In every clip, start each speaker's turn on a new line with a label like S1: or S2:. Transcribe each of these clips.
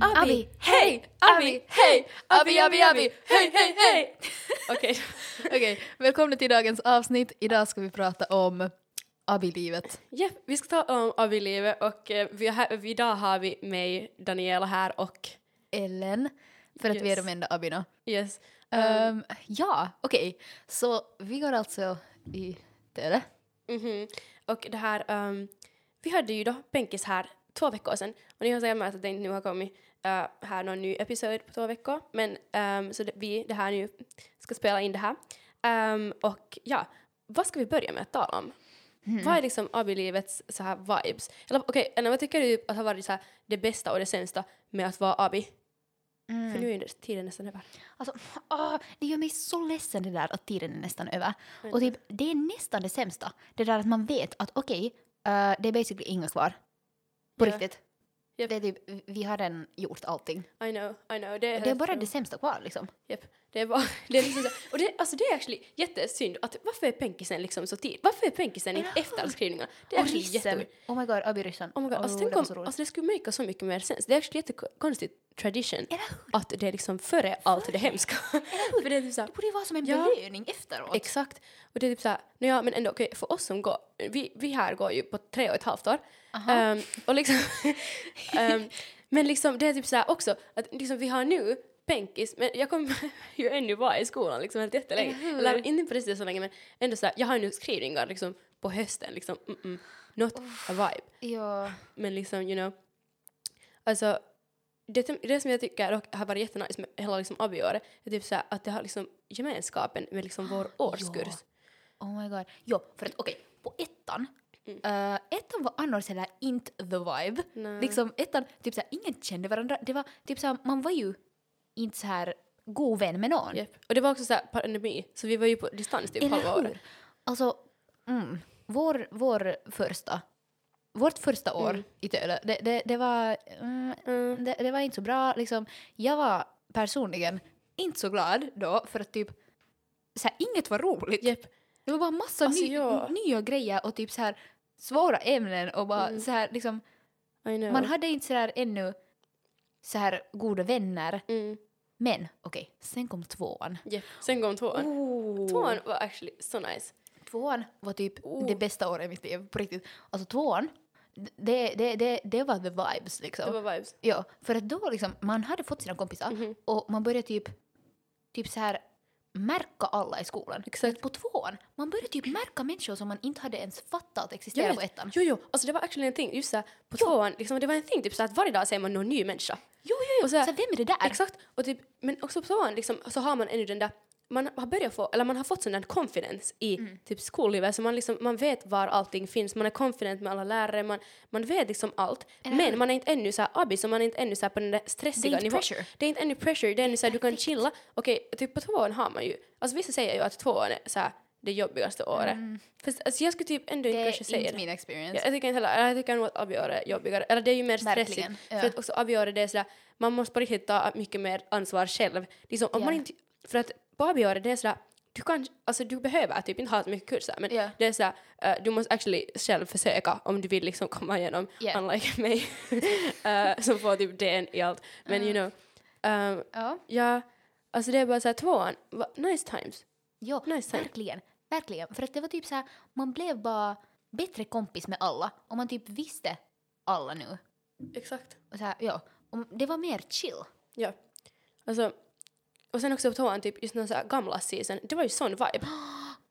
S1: Abby, hej! Abby, hej! Abby, Abby, Abby, hej, hej, hej! Okej, okej. Välkomna till dagens avsnitt. Idag ska vi prata om Abby-livet.
S2: Ja, vi ska ta om Abby-livet och eh, vi har, här- idag har vi mig, Daniela här och
S1: Ellen, för att vi är
S2: Yes. Um.
S1: de enda Abbyna.
S2: yes. eh,
S1: Ehm, ja, okej. Så vi går alltså i tele.
S2: mhm. Och det här, ehm, vi hade ju då Benkis här två veckor sedan och ni har säkert märkt att det inte nu har kommit eh, här någon ny episod på två veckor men ehm, så det, vi, det här nu, ska spela in det här. Ehm, och ja, vad ska vi börja med att tala om?
S1: Mm.
S2: Vad är liksom Abby-livets så här vibes? Eller okej, Anna, vad tycker du att har varit så här det bästa och det sämsta med att vara Abby?
S1: Mm.
S2: För nu är ju tiden nästan över.
S1: Alltså, åh, det gör mig så ledsen det där att tiden är nästan över. Och typ, det är nästan det sämsta. Det där att man vet att okej, eh, det är basically inga kvar. På
S2: Ja.
S1: riktigt.
S2: Japp.
S1: Det är typ, vi har redan gjort allting.
S2: I know, I know. Det är,
S1: Det är bara det sämsta kvar liksom.
S2: Japp, det är bara... Det är liksom så, och det, alltså det är actually jättesynd att varför är penkisen liksom så tid? Varför är penkisen inte efter alla skrivningar? Det är
S1: Och
S2: actually
S1: ryssen!
S2: jätte...
S1: Oh my god, Abby ryssen.
S2: Oh my god, alltså
S1: Oh,
S2: tänk
S1: det var
S2: om,
S1: så roligt.
S2: alltså det skulle make så mycket mer sens. Det är actually jättekonstigt tradition
S1: Eller hur?
S2: att det är liksom före allt det hemska. För det är typ så här,
S1: Det borde ju vara som en
S2: Ja.
S1: belöning efteråt.
S2: Exakt. Och det är typ såhär, no, ja men ändå okej, för oss som går, vi, vi här går ju på tre och ett halvt år. Ehm, och liksom, ehm, men liksom det är typ såhär också, att liksom vi har nu penkis, men jag kommer ju ännu vara i skolan liksom helt jättelänge. Eller inte precis så länge men ändå såhär, jag har nu skrivningar liksom på hösten liksom, mm -mm, not a vibe.
S1: ja.
S2: Men liksom, you know. Alltså, det, det som jag tycker dock har varit jättenice med hela liksom AB-året är typ såhär att det har liksom gemenskapen med liksom vår årskurs.
S1: Oh my god. Jo, för att okej, på ettan. eh, ettan var annars heller inte the vibe.
S2: Nej.
S1: Liksom ettan, typ såhär, ingen kände varandra. Det var typ såhär, man var ju inte så här god vän med någon.
S2: Japp. Och det var också så här pandemi, så vi var ju på distans typ halva
S1: Eller hur?
S2: året.
S1: Alltså, mm, vår, vår första, vårt första år i Töle, det, det, det, var, mm, det, det var inte så bra. Liksom, jag var personligen inte så glad då för att typ, så här, inget var roligt.
S2: Japp.
S1: Det var bara massa
S2: Alltså,
S1: ny,
S2: ja.
S1: nya grejer och typ så här svåra ämnen och bara
S2: Mm.
S1: så här liksom,
S2: I know.
S1: man hade inte så här ännu så här goda vänner.
S2: mm.
S1: Men okej, sen kom tvåan.
S2: Japp. Sen kom tvåan.
S1: Oh.
S2: Tvåan Oh. var actually så nice.
S1: Tvåan var typ det bästa året i mitt liv, på riktigt. Alltså tvåan, det, det, det, det var the vibes
S2: Det
S1: liksom.
S2: var vibes.
S1: Ja, för att då liksom, man hade fått sina kompisar
S2: Mhm.
S1: och man började typ, typ så här märka alla i skolan.
S2: Exakt.
S1: På tvåan, man började typ märka människor som man inte hade ens fattat
S2: Jag
S1: existerade på
S2: vet.
S1: ettan.
S2: Jo, jo. Alltså det var actually en ting, just så här, på tvåan, liksom, det var en ting typ så här, att varje dag ser man någon ny människa.
S1: Jo, jo, jo.
S2: Och
S1: så
S2: så här-
S1: här, vem är det där?
S2: Exakt. Och typ, men också på tvåan liksom, så har man ännu den där man har börjat få, eller man har fått sån där confidence i
S1: Mm.
S2: typ skollivet så man, liksom, man vet var allting finns, man är confident med alla lärare, man, man vet liksom allt.
S1: Eller hur?
S2: men man är inte ännu såhär abis och man är inte ännu såhär på den där
S1: Det är
S2: stressiga
S1: inte
S2: nivån.
S1: pressure.
S2: Det är inte ännu pressure, det är ännu såhär du kan
S1: perfekt.
S2: chilla. Okej, typ på tvåan har man ju, alltså vissa säger ju att tvåan är såhär det jobbigaste året. Fast alltså, jag skulle typ ändå
S1: Mm. det
S2: inte kanske
S1: är
S2: säga
S1: inte
S2: det.
S1: min
S2: Ja,
S1: experience.
S2: jag tycker inte heller, jag tycker nog att avgöra är jobbigare. Eller det är ju mer stressigt.
S1: Verkligen, ja.
S2: För att också avgöra det är sådär, man måste på riktigt ta mycket mer ansvar själv. Liksom, om man
S1: Ja.
S2: inte, för att på avgöra det är sådär, du kan, alltså du behöver typ inte ha så mycket kurser men
S1: Ja.
S2: det är sådär, eh, du måste actually själv försöka om du vill liksom komma igenom,
S1: Ja.
S2: unlike mig eh, som får typ DN i allt. Men you know, ehm,
S1: Ja.
S2: ja, alltså det är bara såhär tvåan, va, nice times.
S1: Ja,
S2: Nice time.
S1: verkligen. Verkligen. För att det var typ så här, man blev bara bättre kompis med alla och man typ visste alla nu.
S2: Exakt.
S1: Och så här, ja. Och det var mer chill.
S2: Ja. Alltså, och sen också på tvåan, typ just den här gamla season, det var ju sån vibe.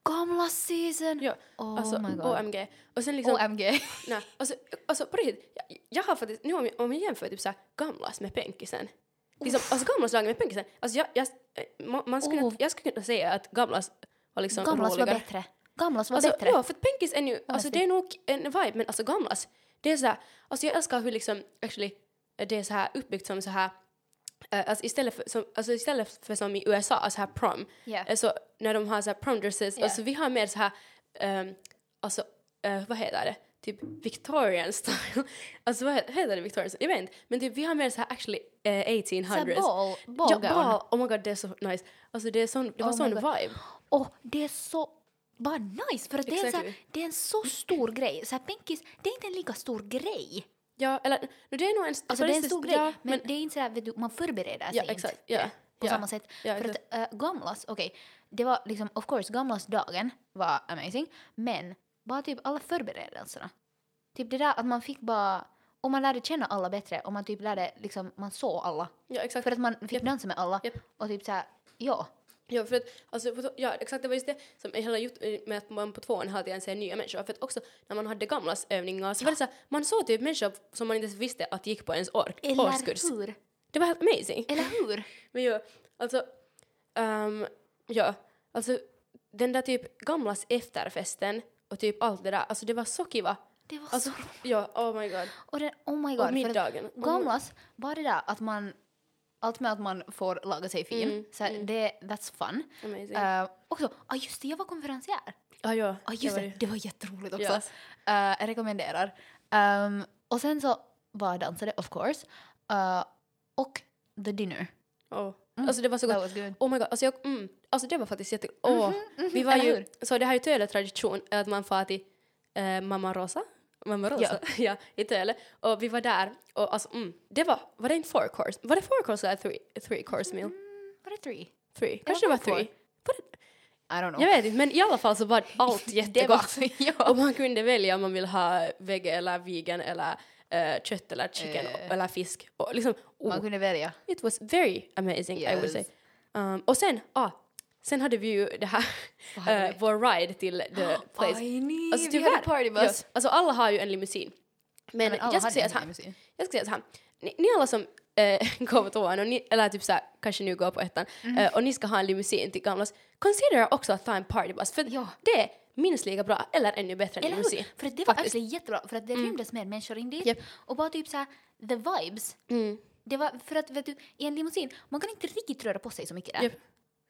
S1: Gamla season!
S2: Ja,
S1: Oh
S2: alltså
S1: my god. Oh,
S2: OMG. Och sen liksom,
S1: OMG.
S2: nej, alltså, alltså på riktigt, jag, jag har faktiskt, nu om jag, om jag jämför typ såhär gamlas med penkisen. Liksom, alltså gamlas lagen med penkisen, alltså jag, jag, man, man skulle,
S1: Oh.
S2: jag skulle kunna säga att gamlas var liksom
S1: Gamlas var
S2: roligare.
S1: bättre. Gamlas var
S2: Alltså,
S1: bättre.
S2: ja, för att penkis är ju, alltså
S1: Honestly.
S2: det är nog en vibe, men alltså gamlas, det är såhär, alltså jag älskar hur liksom, actually, det är så här uppbyggt som så här eh, alltså istället, för, som, alltså istället för som i USA, så här prom,
S1: Ja.
S2: eh, så när de har så här prom dresses,
S1: Ja.
S2: alltså vi har mer så här, ehm, alltså eh, vad heter det, typ Victorian style, alltså vad he- heter det Victorian style, jag vet inte, men typ vi har mer så här actually eh, 1800s.
S1: Så här ball,
S2: ja,
S1: ballgown.
S2: ball, oh my god det är så nice, alltså det, är sån, det var
S1: Oh my
S2: sån
S1: god.
S2: vibe.
S1: Och det är så bara nice för att det är, en så här,
S2: Exactly.
S1: det är en så stor grej. Så här, penkis, det är inte en lika stor grej.
S2: Ja, eller nu det är nog en...
S1: Alltså det är en stor grej,
S2: Ja,
S1: men, det är inte sådär, vet du, man förbereder sig
S2: ja,
S1: inte
S2: exakt. Ja,
S1: på
S2: ja,
S1: samma sätt.
S2: Ja,
S1: För
S2: exakt.
S1: att äh, Gamlas, okej, det var liksom, of course, Gamlas-dagen var amazing, men bara typ alla förberedelserna. Typ det där att man fick bara, och man lärde känna alla bättre och man typ lärde, liksom, man såg alla.
S2: ja, exakt.
S1: För att man fick
S2: Japp.
S1: dansa med alla
S2: Japp.
S1: och typ såhär, ja.
S2: Ja, för att, alltså, på to- ja, exakt det var just det som jag hade gjort eh, med att man på tvåan hela tiden ser nya människor. För att också när man hade gamlas övningar så var det så här, man såg typ människor som man inte ens visste att gick på ens år, årskurs.
S1: Eller hur?
S2: Det var helt amazing.
S1: Eller hur?
S2: Men ja, alltså, ehm, ja, alltså den där typ gamlas efterfesten och typ allt det där, alltså det var så kiva.
S1: Det var
S2: Alltså,
S1: så
S2: ja, oh my god.
S1: Och den, oh my
S2: Och
S1: god. för att
S2: middagen.
S1: Gamlas, bara det där att man, allt med att man får laga sig fin,
S2: Mm,
S1: så här, det, that's fun.
S2: Amazing.
S1: Uh, också, ah just det, jag var konferencier.
S2: ah, ja,
S1: Ah just
S2: var
S1: det,
S2: ju-
S1: det, var jätteroligt också.
S2: Yes.
S1: Eh, jag rekommenderar. Ehm, och sen så bara dansade, of course. Eh, och the dinner.
S2: Åh.
S1: Mm.
S2: Alltså det var så gott.
S1: That was good.
S2: Oh my god, alltså, jag, mm, alltså det var faktiskt jätte... Åh,
S1: Mhm.
S2: vi var
S1: eller
S2: ju,
S1: hur?
S2: så det här är ju Töle-tradition att man far till eh, mamma Rosa, mamma Rosa, ja. i Töle. Och vi var där och alltså, mm, det var, var det en four course? Var det four course eller three, three course meal?
S1: Var det three?
S2: Three, kanske det var
S1: var four.
S2: three. Var det,
S1: I don't know.
S2: jag vet inte, men i alla fall så var allt
S1: det var,
S2: jättegott.
S1: ja.
S2: Och man kunde välja om man vill ha vege eller vegan eller eh, kött eller chicken
S1: Eh.
S2: eller fisk. Och liksom, oh,
S1: Man kunde välja.
S2: It was very amazing, I would
S1: Yes.
S2: say. Um, och sen, ah, sen hade vi ju det här,
S1: Vad hade
S2: eh,
S1: vi?
S2: vår ride till the place.
S1: Aj, nej,
S2: Alltså,
S1: vi
S2: tyvärr-
S1: hade partybus.
S2: Ja, alltså alla har ju en limousin. Men,
S1: Men alla
S2: jag ska
S1: hade
S2: säga
S1: typ en
S2: så här,
S1: limousin.
S2: jag ska säga så här. Ni, ni alla som eh, går på tvåan, och ni, eller typ så här, kanske nu går på ettan,
S1: Mhm.
S2: eh, och ni ska ha en limousin till Gamlas, considera också att ta en partybus, för
S1: Ja.
S2: det är minst lika bra, eller ännu bättre än
S1: Eller hur?
S2: limousin.
S1: För att det var
S2: Faktiskt. Mm.
S1: actually jättebra, för att det rymdes mer människor in dit.
S2: Japp.
S1: Och bara typ såhär, the vibes.
S2: Mm.
S1: Det var för att vet du, i en limousin, man kan inte riktigt röra på sig så mycket där.
S2: Japp.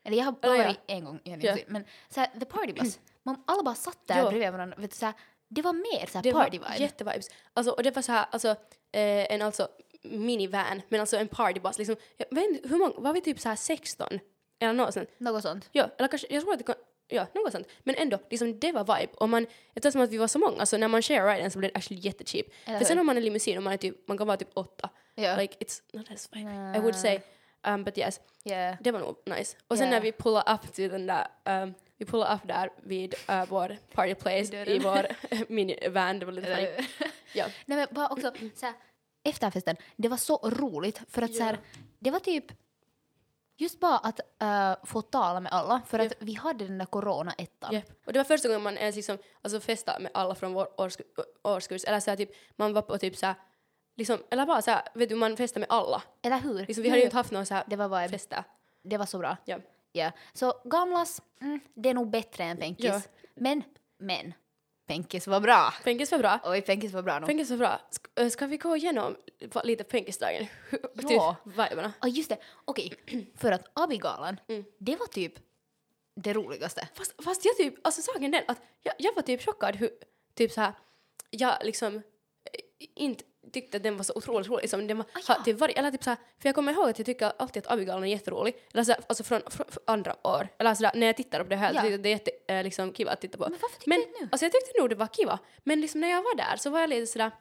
S1: Eller jag har bara
S2: Eller ja. Mm.
S1: varit en gång i en limousin. Men såhär, the party bus. Man, alla bara satt där
S2: Ja.
S1: bredvid varandra. Vet du, såhär, det var mer såhär
S2: Det
S1: party
S2: var
S1: vibe.
S2: jättevibes. Alltså, och det var så här, alltså, eh, en alltså minivan, men alltså en partybus. Liksom, jag vet inte, hur många, var vi typ så här 16? Eller något sånt.
S1: Något sånt.
S2: Ja, eller kanske, jag tror att det kan, ja, något sånt. Men ändå, liksom, det var vibe. Och man, eftersom att vi var så många, så när man share riden så blir det actually jättecheap.
S1: Eller
S2: För sen
S1: hur?
S2: om man är limousin och man, är typ, man kan vara typ åtta,
S1: Ja. Ah,
S2: like it's not as vibe, I would say. Um, but yes,
S1: Yeah.
S2: det var nog nice. Och sen
S1: Yeah.
S2: när vi pullar upp till den där, um, vi pullar upp där vid uh, vår party place
S1: Dörren.
S2: i vår minivan, det var lite funny.
S1: Eller-
S2: Ja.
S1: Nej men bara också såhär, efterfesten, det var så roligt för att
S2: Ja.
S1: såhär, det var typ just bara att eh, få tala med alla för att vi hade den där corona-ettan.
S2: Japp. Och det var första gången man ens liksom, alltså festade med alla från vår årskurs, årskurs. eller så här, typ, man var på typ så här, liksom, eller bara så här, vet du, man festade med alla.
S1: Eller hur?
S2: Liksom, vi hade ju inte haft någon så här
S1: Mm. Det var vibe.
S2: festa.
S1: Det var så bra.
S2: Ja.
S1: Ja. Så Gamlas, mm, det är nog bättre än Penkis.
S2: Ja.
S1: Men, men, Penkis var bra.
S2: Penkis var bra.
S1: Oj, Penkis var bra nog.
S2: Penkis var bra. Ska, äh, ska vi gå igenom va- lite Penkisdagen?
S1: Ja.
S2: typ viberna.
S1: Ja, just det. Okej, för att Abigalan,
S2: Mm.
S1: det var typ det roligaste.
S2: Fast, fast jag typ, alltså saken är den att jag, jag var typ chockad hur, typ så här, jag liksom eh, inte tyckte att den var så otroligt rolig som den var.
S1: Ah, ja.
S2: har typ varit, eller typ så här, för jag kommer ihåg att jag tycker alltid att Abigail är jätterolig. Eller så här, alltså från, från, från andra år. Eller så där, när jag tittar på det här
S1: Ja.
S2: så tycker jag att det är jätte, eh, liksom, kiva att titta på.
S1: Men varför tycker
S2: Men
S1: du det nu?
S2: alltså jag tyckte nog det var kiva. Men liksom när jag var där så var jag lite sådär,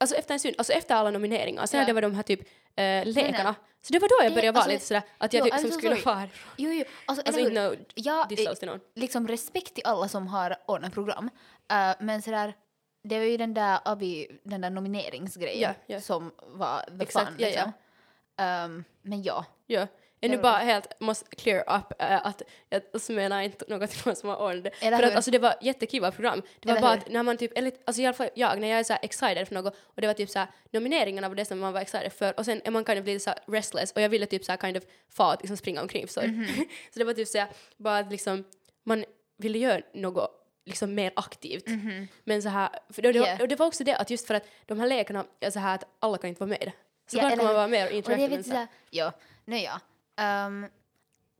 S2: alltså efter en stund, alltså efter alla nomineringar, sen
S1: Ja.
S2: det var de här typ eh, lekarna.
S1: nej.
S2: Så det var då jag
S1: Det-
S2: började vara
S1: alltså,
S2: lite sådär att jag
S1: jo,
S2: typ
S1: I'm
S2: som
S1: so
S2: skulle
S1: sorry.
S2: vara härifrån.
S1: Jo, jo. Alltså,
S2: Alltså
S1: eller
S2: inte
S1: hur?
S2: no
S1: Jag, eh,
S2: disslås till någon.
S1: liksom respekt till alla som har ordnat program. Eh, men sådär, det var ju den där Abi, den där nomineringsgrejen
S2: Ja, ja.
S1: som var the
S2: Exakt,
S1: fun.
S2: ja, ja.
S1: Liksom. Ehm, men ja.
S2: Ja. Jag nu
S1: var
S2: bara helt måste clear up eh, att jag alltså, menar inte något till någon som har ålder.
S1: Eller
S2: För att
S1: hur?
S2: alltså det var jättekiva program. Det var
S1: Eller
S2: bara
S1: hur?
S2: att när man typ, eller, alltså i alla fall jag, när jag är så här excited för något och det var typ så här nomineringarna var det som man var excited för och sen är man kind of lite så här restless och jag ville typ så här kind of få att liksom springa omkring så.
S1: Mhm.
S2: så det var typ så här, bara att liksom man ville göra något liksom mer aktivt. Men så här, för det, det,
S1: Mhm. Yeah.
S2: var, och det var också det att just för att de här lekarna är så här att alla kan inte vara med. Så klart
S1: eller
S2: kan man
S1: hur?
S2: vara med och
S1: Och det
S2: interacta
S1: är
S2: men
S1: lite
S2: så här-
S1: såhär, ja, nu ja. Ehm,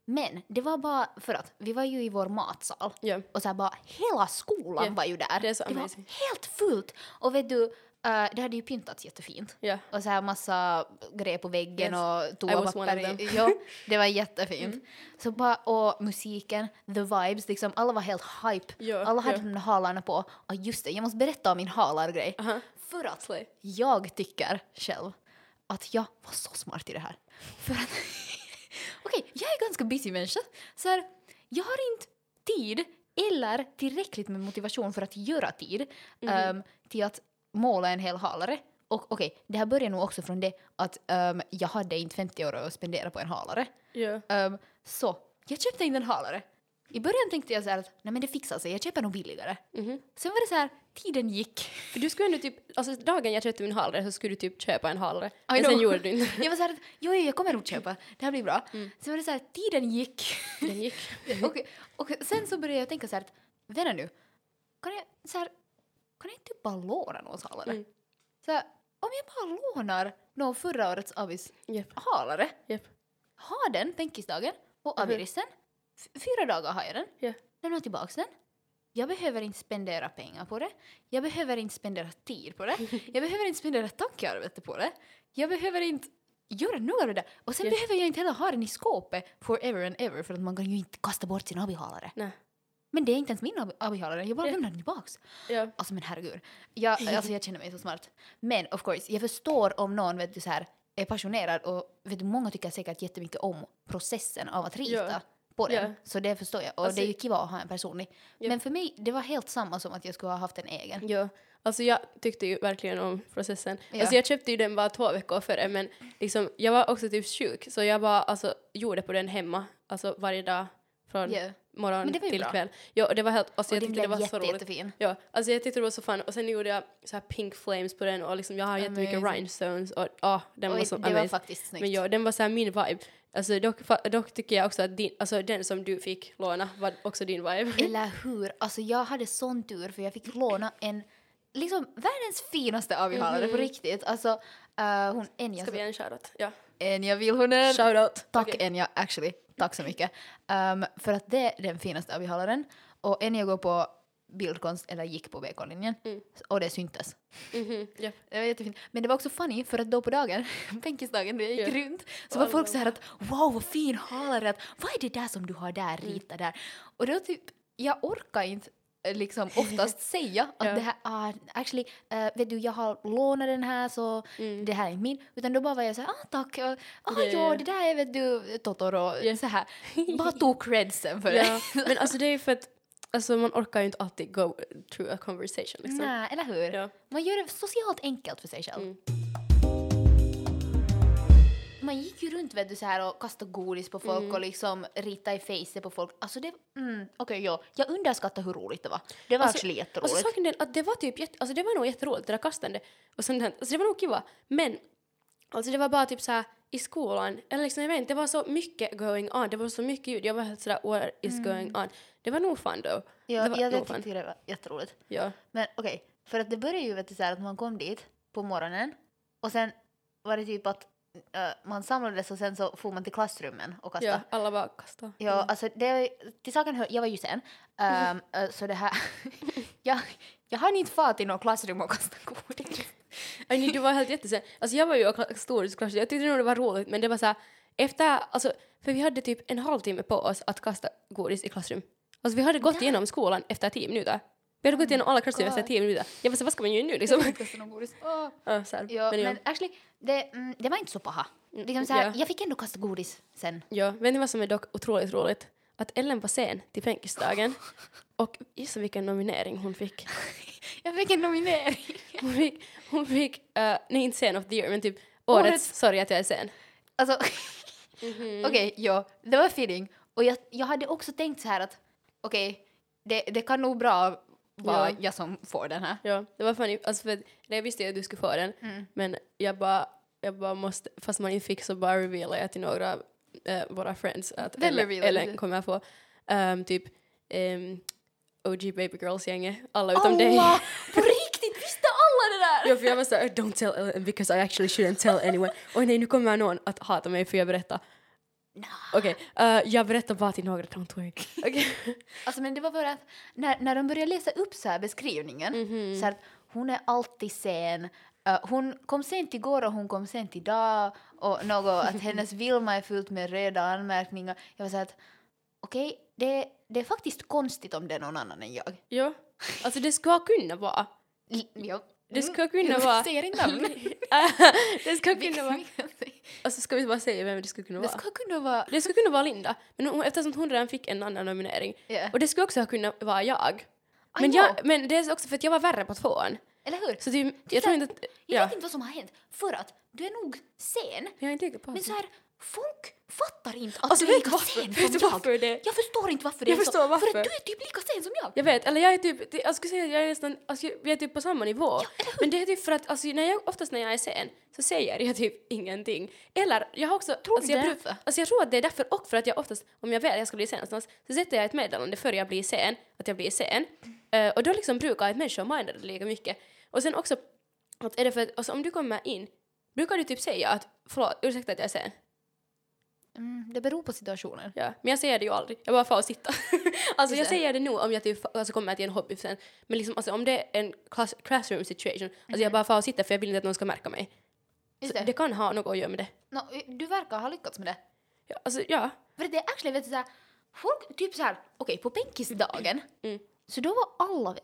S1: men det var bara för att vi var ju i vår matsal
S2: Ja.
S1: och såhär bara hela skolan
S2: Ja,
S1: var ju där.
S2: det är så
S1: var
S2: amazing.
S1: helt fullt. Och vet du, Eh, det hade ju pyntats jättefint.
S2: Ja.
S1: Och så här massa grejer på
S2: Yes.
S1: väggen och
S2: was one of
S1: toapapper.
S2: them. Mm.
S1: Ja, det var jättefint. Så bara, och musiken, the vibes, liksom alla var helt hype.
S2: Ja,
S1: alla hade
S2: ja.
S1: de där halarna på. Och just det, jag måste berätta om min halargrej.
S2: Aha.
S1: För att
S2: Slay.
S1: jag tycker själv att jag var så smart i det här. För att... Okej, jag är ganska busy människa. Så här, jag har inte tid eller tillräckligt med motivation för att göra tid ehm, till att måla en hel halare. Och okej, det här börjar nog också från det att ehm, jag hade inte 50 euro att spendera på en halare.
S2: Ja.
S1: Ehm, så jag köpte in en halare. I början tänkte jag så här att nej men det fixar sig, jag köper nog billigare.
S2: Mhm.
S1: Sen var det så här, tiden gick.
S2: För du skulle ändå typ, alltså dagen jag köpte min halare så skulle du typ köpa en halare. Men
S1: know.
S2: sen gjorde du inte.
S1: Jag var såhär, jo, jo, jag kommer nog köpa, det här blir bra. Sen var det såhär, tiden gick.
S2: Den gick.
S1: och, och sen så började jag tänka såhär, att, vänta nu, kan jag, så här, kan jag inte bara låna någons halare?
S2: Mm.
S1: Så här, om jag bara lånar någon förra årets avis
S2: Japp,
S1: Typ halare,
S2: japp.
S1: ha den bänkisdagen och
S2: Mhm.
S1: avirisen, F- fyra dagar har jag den,
S2: Ja.
S1: lämna tillbaka den. Jag behöver inte spendera pengar på det. Jag behöver inte spendera tid på det. Jag behöver inte spendera tankearbete på det. Jag behöver inte göra något av det där. Och sen
S2: Yes.
S1: behöver jag inte heller ha den i skåpet forever and ever för att man kan ju inte kasta bort sin abihalare.
S2: Nej.
S1: Men det är inte ens min abi- abihalare, jag bara
S2: Ja.
S1: lämnar den tillbaks.
S2: Ja.
S1: Alltså men herregud. Jag, alltså, jag känner mig så smart. Men of course, jag förstår om någon vet du, så här, är passionerad och vet du, många tycker säkert jättemycket om processen av att rita
S2: Ja.
S1: på den.
S2: Ja.
S1: Så det förstår jag. Och
S2: Alltså-
S1: det är ju kiva att ha en personlig.
S2: Ja.
S1: Men för mig, det var helt samma som att jag skulle ha haft en egen.
S2: Ja, alltså jag tyckte ju verkligen om processen.
S1: Ja.
S2: Alltså jag köpte ju den bara två veckor före men liksom, jag var också typ sjuk så jag bara alltså, gjorde på den hemma alltså varje dag från
S1: Ja. Men
S2: morgon
S1: det var ju
S2: till
S1: bra.
S2: kväll. Ja, och det var helt, alltså,
S1: Och
S2: jag
S1: den
S2: tyckte det
S1: blev
S2: var
S1: jätte,
S2: så roligt.
S1: jättefin.
S2: Ja, alltså jag tyckte det var så fun och sen gjorde jag så här pink flames på den och liksom jag har jättemycket
S1: Amazing.
S2: rhinestones och ja, den var
S1: Och
S2: så
S1: det var
S2: amazing.
S1: faktiskt snyggt.
S2: Men ja, den var så här min vibe. Alltså dock, fa- dock tycker jag också att din, alltså den som du fick låna var också din vibe.
S1: Eller hur? Alltså jag hade sån tur för jag fick låna en, liksom världens finaste avihalare på riktigt. Alltså eh, hon Enja,
S2: Mhm. Ska vi ge en shoutout? Ja.
S1: Enja Vilhonen.
S2: Shoutout.
S1: Tack
S2: Okej.
S1: Enja, actually. Tack så mycket. Ehm, för att det är den finaste avihållaren. Och Enja går på bildkonst, eller gick på BK-linjen. Och det syntes.
S2: Mhm, ja.
S1: Det var jättefint. Men det var också funny för att då på dagen, bänkisdagen, när jag gick
S2: Ja.
S1: runt så var folk så här att wow vad fin halare, att, vad är det där som du har där,
S2: Mm.
S1: rita där. Och då typ, jag orkar inte eh, liksom oftast säga att
S2: Ja.
S1: det här, ah, actually, eh, vet du jag har lånat den här så det här är inte min. Utan då bara var jag så här, ah tack, och, ah
S2: Mm. Ja, ja,
S1: ja
S2: ja.
S1: det där är vet du Totoro, så här. Bara tog credsen för
S2: Ja,
S1: det.
S2: men alltså det är ju för att alltså, man orkar ju inte alltid go through a conversation liksom.
S1: Nej, eller hur?
S2: Ja.
S1: Man gör det socialt enkelt för sig själv.
S2: Mm.
S1: Man gick ju runt vet du, så här och kastade godis på folk
S2: Mm.
S1: och liksom ritade i face på folk. Alltså det, mm, okej ja, jag underskattar hur roligt det var. Det var actually jätteroligt.
S2: Alltså saken är den att det var typ jätte, alltså det var nog jätteroligt det där kastandet och sånt där. Alltså det var nog kiva. Men alltså det var bara typ så här i skolan eller liksom jag vet inte det var så mycket going on. Det var så mycket ljud. Jag var helt sådär what is
S1: Mm.
S2: going on. Det var nog fun då.
S1: ja,
S2: det var
S1: jag
S2: nog
S1: tyckte det var jätteroligt.
S2: Ja.
S1: Men okej, för att det började ju vet du, så här att man kom dit på morgonen och sen var det typ att eh, man samlades och sen så for man till klassrummen och kastade.
S2: ja, alla Mm. bara kastade.
S1: Ja, alltså det, till saken hör, jag var ju sen.
S2: Mm.
S1: Ehm, eh, så det här, jag, jag hann inte fara till någon klassrum och kasta godis.
S2: Aj, nej, du var helt jättesen. Alltså jag var ju i storhetsklass, jag tyckte nog det var roligt men det var så här, efter, alltså, för vi hade typ en halvtimme på oss att kasta godis i klassrum. Alltså vi hade gått igenom skolan efter tio minuter. Vi hade gått igenom alla klassrum efter
S1: God.
S2: tio minuter. Jag var så här, vad ska man göra nu liksom?
S1: Kasta någon godis. Åh.
S2: Ja, så här.
S1: Ja,
S2: men,
S1: men actually, det, mm, det var inte så paha. Liksom så här,
S2: ja.
S1: Jag fick ändå kasta godis sen.
S2: ja, vet ni vad som är dock otroligt roligt? Att Ellen var sen till fänkisdagen och gissa vilken nominering hon fick.
S1: Jag fick en nominering.
S2: Hon fick, hon fick eh, nej inte sen of the year men typ årets,
S1: Årets-
S2: sorry att jag är sen.
S1: Alltså,
S2: Mhm.
S1: okej, ja, det var feeling. Och jag, jag hade också tänkt så här att okej, det, det kan nog bra vara
S2: Ja.
S1: jag som får den här.
S2: Ja, det var funny. Alltså för, att- nej, jag visste ju att du skulle få den,
S1: Mm.
S2: men jag bara, jag bara måste, fast man inte fick så bara revealade jag till några av eh, våra friends att
S1: Vem
S2: Ellen,
S1: revealade
S2: Ellen
S1: du?
S2: kommer jag få ehm, typ ehm, OG Baby Girls-gänget, alla utom dig.
S1: Alla! På riktigt, visste alla det där?
S2: Ja, för jag var såhär, eh, don't tell Ellen because I actually shouldn't tell anyone. Oj nej, nu kommer någon att hata mig för jag berättar. Okej, eh, jag berättar bara till några, don't worry. Okej.
S1: Alltså men det var bara att när, när de började läsa upp så här beskrivningen
S2: Mhm.
S1: så här att hon är alltid sen. eh, hon kom sent igår och hon kom sent idag och något att hennes Vilma är fullt med röda anmärkningar. Jag var så här att okej, det, det är faktiskt konstigt om det är någon annan än jag.
S2: Ja. Alltså det ska kunna vara.
S1: L- ja.
S2: Det
S1: Mm.
S2: ska kunna
S1: Jag
S2: vara.
S1: säger inte namn.
S2: det ska kunna vara.
S1: det
S2: Alltså ska vi bara säga vem det skulle kunna vara?
S1: ska kunna vara...
S2: Det skulle kunna vara Linda, men hon, eftersom hon redan fick en annan nominering.
S1: Ja.
S2: Och det skulle också ha kunnat vara jag.
S1: I
S2: Men,
S1: know.
S2: jag, men det är också för att jag var värre på tvåan.
S1: Eller hur?
S2: Så typ,
S1: Titta,
S2: jag tror inte att...
S1: Jag
S2: Ja.
S1: vet inte vad som har hänt för att du är nog sen
S2: Jag är inte riktigt på
S1: Men så här, folk fattar inte att
S2: Alltså,
S1: Alltså- du är
S2: vet
S1: lika
S2: du varför?
S1: sen
S2: Vet du
S1: som jag.
S2: varför det?
S1: Jag förstår inte varför det
S2: Jag
S1: är
S2: förstår
S1: så.
S2: varför.
S1: För att du är typ lika sen som jag.
S2: Jag vet, eller jag är typ, det- jag skulle säga att jag är nästan, alltså jag- vi är typ på samma nivå. men det är typ för att, alltså när jag, oftast när jag är sen så säger jag typ ingenting. Eller jag har också...
S1: Tror du
S2: alltså, jag
S1: det är
S2: bru-
S1: därför?
S2: Alltså jag tror att det är därför och för att jag oftast, om jag vet att jag ska bli sen någonstans, så sätter jag ett meddelande före jag blir sen, att jag blir sen. Eh, och då liksom brukar ett människa minda det lika mycket. Och sen också, att är det för att, alltså om du kommer in, brukar du typ säga att förlåt, ursäkta att jag är sen?
S1: Mm, det beror på situationen.
S2: Ja, men jag säger det ju aldrig. Jag bara får och sitta. alltså jag
S1: Just det.
S2: säger det nu om jag typ alltså, kommer till en hobby sen. Men liksom, alltså, om det är en class, classroom situation, alltså jag bara får och sitta för jag vill inte att någon ska märka mig.
S1: Mhm. Just
S2: Så
S1: det.
S2: det kan ha något att göra med det.
S1: Nå, du verkar ha lyckats med det.
S2: Ja, alltså ja.
S1: För det är actually, vet du, så här, folk typ så här, okej på bänkisdagen,
S2: Mm.
S1: så då var alla,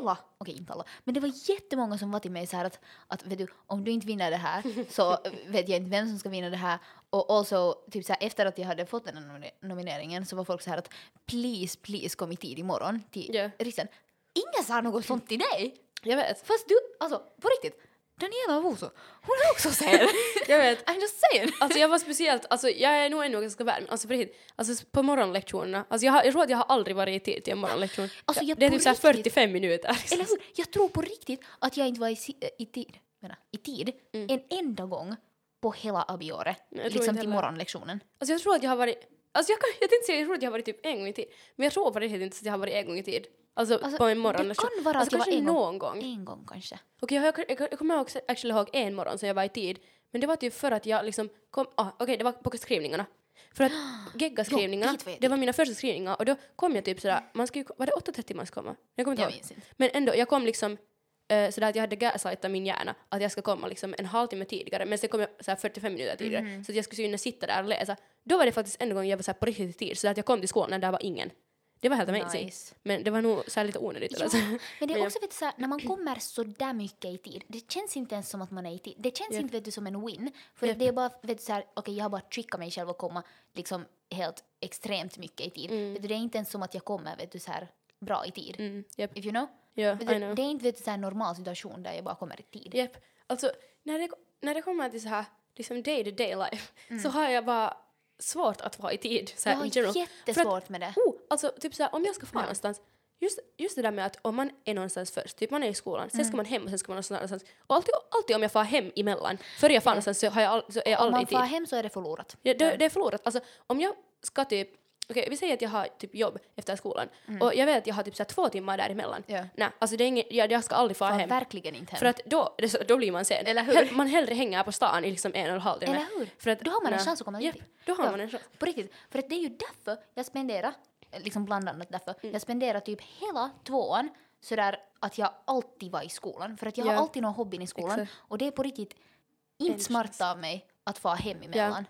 S1: alla, okej inte alla, men det var jättemånga som var till mig så här att, att vet du, om du inte vinner det här så vet jag inte vem som ska vinna det här. Och also, typ så här, efter att jag hade fått den här nomine- nomineringen så var folk så här att please, please kom i tid imorgon till
S2: Ja.
S1: riksen. Ingen sa något sånt till dig!
S2: Jag vet.
S1: Fast du, alltså på riktigt, Daniela Avoso, hon är också sen!
S2: Jag vet.
S1: I'm just saying!
S2: Alltså jag var speciellt, alltså jag är nog ännu ganska värm. Alltså på riktigt, alltså på morgonlektionerna. Alltså jag, har, jag tror att jag har aldrig varit i tid till en morgonlektion.
S1: Alltså, jag
S2: det är
S1: på
S2: typ såhär
S1: riktigt-
S2: 45 minuter. Liksom.
S1: Eller hur? Jag tror på riktigt att jag inte var i, si- eh, i tid, menar, i tid en enda gång på hela abiåret.
S2: Mm. Nej, jag tror
S1: Liksom
S2: inte
S1: till
S2: heller.
S1: morgonlektionen.
S2: Alltså jag tror att jag har varit... Alltså jag, kan, jag tänkte säga jag tror att jag har varit typ en gång i tid. Men jag tror på riktigt inte att jag har varit en gång i tid. Alltså,
S1: Alltså,
S2: på en morgon.
S1: det kan vara
S2: alltså,
S1: att jag
S2: kanske
S1: var en gång.
S2: någon gång.
S1: En gång kanske.
S2: Okej, jag, jag, jag, jag kommer också actually ihåg en morgon som jag var i tid. Men det var typ för att jag liksom kom... Ah, Okej, det var på skrivningarna. För att gegga skrivningarna,
S1: dit var jag
S2: det var mina första skrivningar och då kom jag typ sådär, man ska ju, var det 8.30 man ska komma? Jag kommer inte
S1: Jag
S2: ihåg.
S1: minns inte.
S2: Men ändå, jag kom liksom eh, sådär att jag hade gaslightat min hjärna att jag ska komma liksom en halvtimme tidigare men sen kom jag såhär 45 minuter tidigare
S1: Mhm.
S2: så att jag skulle hinna sitta där och läsa. Då var det faktiskt en gång jag var såhär på riktigt i tid så att jag kom till skolan när där var ingen. Det var helt amazing.
S1: Nice.
S2: Men det var nog såhär lite onödigt.
S1: Ja,
S2: alltså.
S1: men det
S2: Men
S1: är
S2: jag-
S1: också vet du, så här, när man kommer så där mycket i tid, det känns inte ens som att man är i tid. Det känns inte vet du, som en win, för
S2: Japp.
S1: det är bara, vet du, så här, okej, jag har bara trickat mig själv att komma liksom helt extremt mycket i tid. Vet du, det är inte ens som att jag kommer vet du, så här, bra i tid.
S2: Mm, japp.
S1: If you know?
S2: Ja,
S1: Vet
S2: I
S1: du,
S2: know.
S1: det är inte vet du, så här, en normal situation där jag bara kommer i tid.
S2: Japp. Alltså, när det, när det kommer till så här, liksom day to day life så har jag bara svårt att vara i tid. Så
S1: Mm. Jag
S2: här, in general.
S1: har
S2: För att-
S1: jättesvårt med det.
S2: Oh, alltså typ så här, om jag ska fara någonstans. Just, just det där med att om man är någonstans först, typ man är i skolan, sen
S1: Mm.
S2: ska man hem och sen ska man någonstans annanstans. Och alltid, alltid om jag far hem emellan, före jag far någonstans så, har jag all, så är jag
S1: Om
S2: aldrig
S1: man
S2: i tid.
S1: far hem så är det förlorat.
S2: Ja, det, det är förlorat. Alltså om jag ska typ, okej vi säger att jag har typ jobb efter skolan och jag vet att jag har typ så här, två timmar däremellan.
S1: Mm. Ja.
S2: Nej, alltså det är inget, jag, jag ska aldrig fara
S1: Far
S2: hem.
S1: verkligen inte hem.
S2: För att då, det är så- då blir man sen.
S1: Eller hur?
S2: Hell- Man hellre hänger på stan i liksom en och en halv timme.
S1: Eller hur?
S2: För att,
S1: Då har man en
S2: nä.
S1: chans att komma
S2: Japp,
S1: dit.
S2: Då har
S1: Ja.
S2: man en chans.
S1: På riktigt. För att det är ju därför jag spenderar, eh, liksom bland annat därför,
S2: Mm.
S1: jag spenderar typ hela tvåan sådär att jag alltid var i skolan. För att jag
S2: Ja.
S1: har alltid någon hobby i skolan
S2: Exakt.
S1: och det är på riktigt inte
S2: En
S1: smart av mig att fara hem emellan.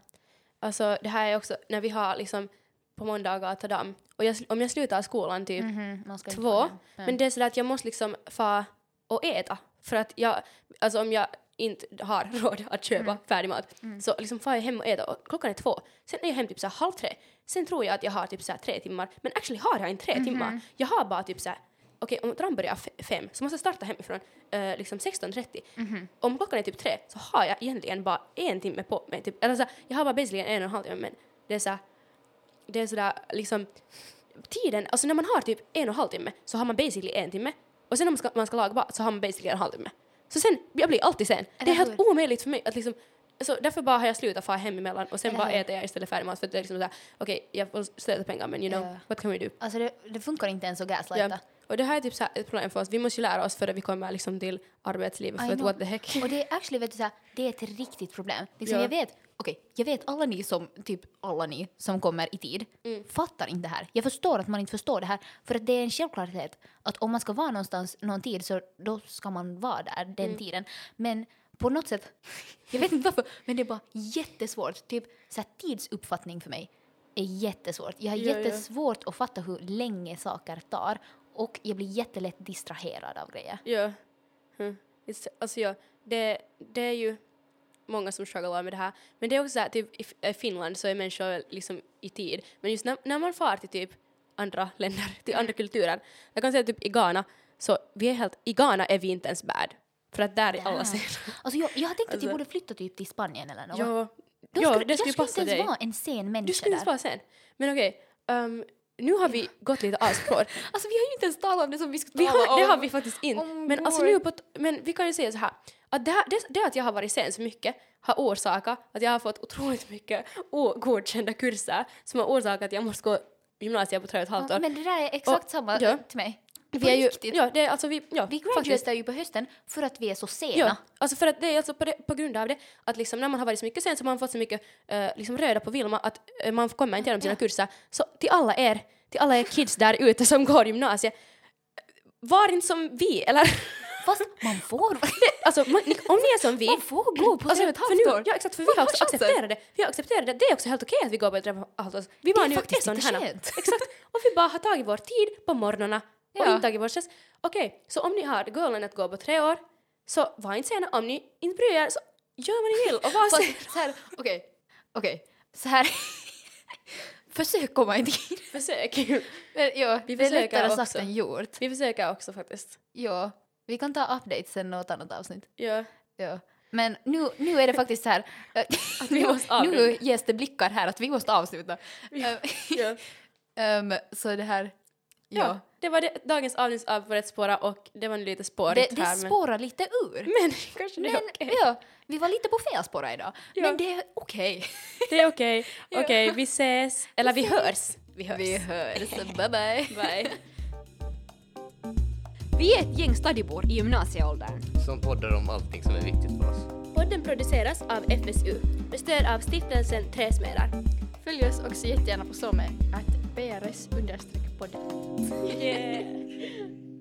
S2: Alltså det här är också när vi har liksom på måndagar ta damm. Och jag, sl- om jag slutar skolan typ
S1: Mhm, man ska inte
S2: två,
S1: fara hem.
S2: men det är sådär att jag måste liksom fa och äta. För att jag, alltså om jag inte har råd att köpa färdig mat så liksom far jag hem och äter och klockan är två. Sen är jag hem typ såhär halv tre. Sen tror jag att jag har typ såhär tre timmar men actually har jag inte tre timmar. Jag har bara typ såhär Okej, om tram börjar f- fem så måste jag starta hemifrån eh, liksom 16.30. Om klockan är typ tre så har jag egentligen bara en timme på mig. Typ. Eller så här, jag har bara basically en och en halv timme men det är såhär det är sådär liksom tiden, alltså när man har typ en och en halv timme så har man basically en timme och sen när man ska, man ska laga mat så har man basically en halvtimme. Så sen, jag blir alltid sen. Det är
S1: Eller
S2: helt omöjligt för mig att liksom så därför bara har jag slutat fara hem emellan och sen
S1: Eller
S2: bara
S1: hur?
S2: äter jag istället färdig mat för att det är liksom såhär okej jag får slösa pengar men you know
S1: Ja.
S2: what can we do?
S1: Alltså det, det funkar inte ens att gaslighta.
S2: Ja. Och det här är typ såhär ett problem för oss, vi måste ju lära oss före vi kommer liksom till arbetslivet
S1: I
S2: för att
S1: know.
S2: what the heck.
S1: Och det är actually, vet du, så här, det är ett riktigt problem. Liksom,
S2: Ja.
S1: Jag vet, okej Okej, jag vet alla ni som, typ alla ni som kommer i tid,
S2: Mm.
S1: fattar inte det här. Jag förstår att man inte förstår det här, för att det är en självklarhet att om man ska vara någonstans någon tid så då ska man vara där den
S2: Mm.
S1: tiden. Men på något sätt, jag vet inte varför, men det är bara jättesvårt. Typ så här, tidsuppfattning för mig är jättesvårt. Jag har
S2: Ja, ja.
S1: jättesvårt att fatta hur länge saker tar och jag blir jättelätt distraherad av grejer.
S2: Ja. Mm. It's- Alltså ja, det, det är ju många som strugglar med det här. Men det är också så här, typ i F- i Finland så är människor liksom i tid. Men just när, när man far till typ andra länder,
S1: Mm.
S2: till andra kulturer. Jag kan säga typ i Ghana, så vi är helt, i Ghana är vi inte ens bad. För att där är alla sena.
S1: Alltså jag, jag har tänkt att
S2: Alltså-
S1: jag borde flytta typ till Spanien eller något.
S2: Ja,
S1: Då
S2: ja, det
S1: skulle,
S2: skulle
S1: jag skulle inte
S2: passa
S1: ens
S2: dig.
S1: vara en sen människa
S2: Du skulle
S1: där.
S2: inte vara sen. Men okej, ehm, nu har vi gått lite avspår.
S1: Alltså vi har ju inte ens talat om det som vi skulle
S2: Vi
S1: tala
S2: har,
S1: om.
S2: det har vi faktiskt inte.
S1: om
S2: men, alltså
S1: vår-
S2: nu på, t- men vi kan ju säga så här. Att det, här det, det att jag har varit sen så mycket har orsakat att jag har fått otroligt mycket ogodkända kurser som har orsakat att jag måste gå gymnasiet på tre och ett halvt
S1: Ja,
S2: år.
S1: Men det där är exakt
S2: Och-
S1: samma
S2: ja.
S1: till mig. På
S2: vi är ju,
S1: riktigt.
S2: ja, det är alltså vi, ja,
S1: vi
S2: faktiskt.
S1: graduatar ju på hösten för att vi är så sena.
S2: Ja, alltså för att det är alltså på, det, på grund av det att liksom när man har varit så mycket sen så har man fått så mycket eh, liksom röda på Vilma att eh, man kommer inte igenom sina kurser. Så till alla er, till alla er kids där ute som går gymnasiet, var inte som vi eller
S1: Fast man får,
S2: Alltså man, ni- om ni är som vi,
S1: man får gå på
S2: Alltså,
S1: tre och ett
S2: för nu-
S1: halvt år.
S2: Ja exakt, för vi
S1: Man
S2: har
S1: har
S2: också
S1: chansen.
S2: accepterat det. Vi har accepterat det. Det är också helt okej att vi går på ett och ett halvt år. Vi
S1: Det
S2: var
S1: är
S2: nu
S1: faktiskt
S2: sådana
S1: lite
S2: här.
S1: skönt.
S2: Exakt. Och vi bara har tagit vår tid på morgnarna och
S1: Ja.
S2: inte tagit vår stress. Okej, så om ni har goalen att gå på tre år, så var inte sena. Om ni inte bryr er, så gör vad ni vill och var sena.
S1: Fast så här, okej, okej, så här. Försök komma i tid.
S2: Försök.
S1: Men ja,
S2: Vi
S1: det är
S2: försöker
S1: lättare sagt
S2: också.
S1: än gjort.
S2: Vi försöker också faktiskt.
S1: Ja, vi kan ta update sen något annat avsnitt.
S2: Ja.
S1: Ja. Men nu, nu är det faktiskt så här, eh,
S2: Att vi
S1: nu,
S2: måste avrunda.
S1: nu ges det blickar här att vi måste avsluta. Eh,
S2: ja.
S1: ehm, så det här, ja.
S2: ja. Det var det, dagens avsnitt av På rätt spåra och det var nu lite
S1: Det,
S2: spårigt
S1: det
S2: här. Men,
S1: spårar lite ur.
S2: men kanske det är
S1: Mm, Men
S2: okej.
S1: ja, vi var lite på fel spåra idag.
S2: Ja.
S1: Men det är okej.
S2: Det är okej.
S1: Ja.
S2: Okej, vi ses. Eller vi hörs. Vi hörs.
S1: Vi hörs, bye bye.
S2: Bye.
S3: Vi är ett gäng studybor i gymnasieåldern.
S4: som poddar om allting som är viktigt för oss.
S2: Podden produceras av FSU med stöd av stiftelsen Träsmedar.
S5: Följ oss också jättegärna på SOME, att PRS understreck podden.
S2: Yeah.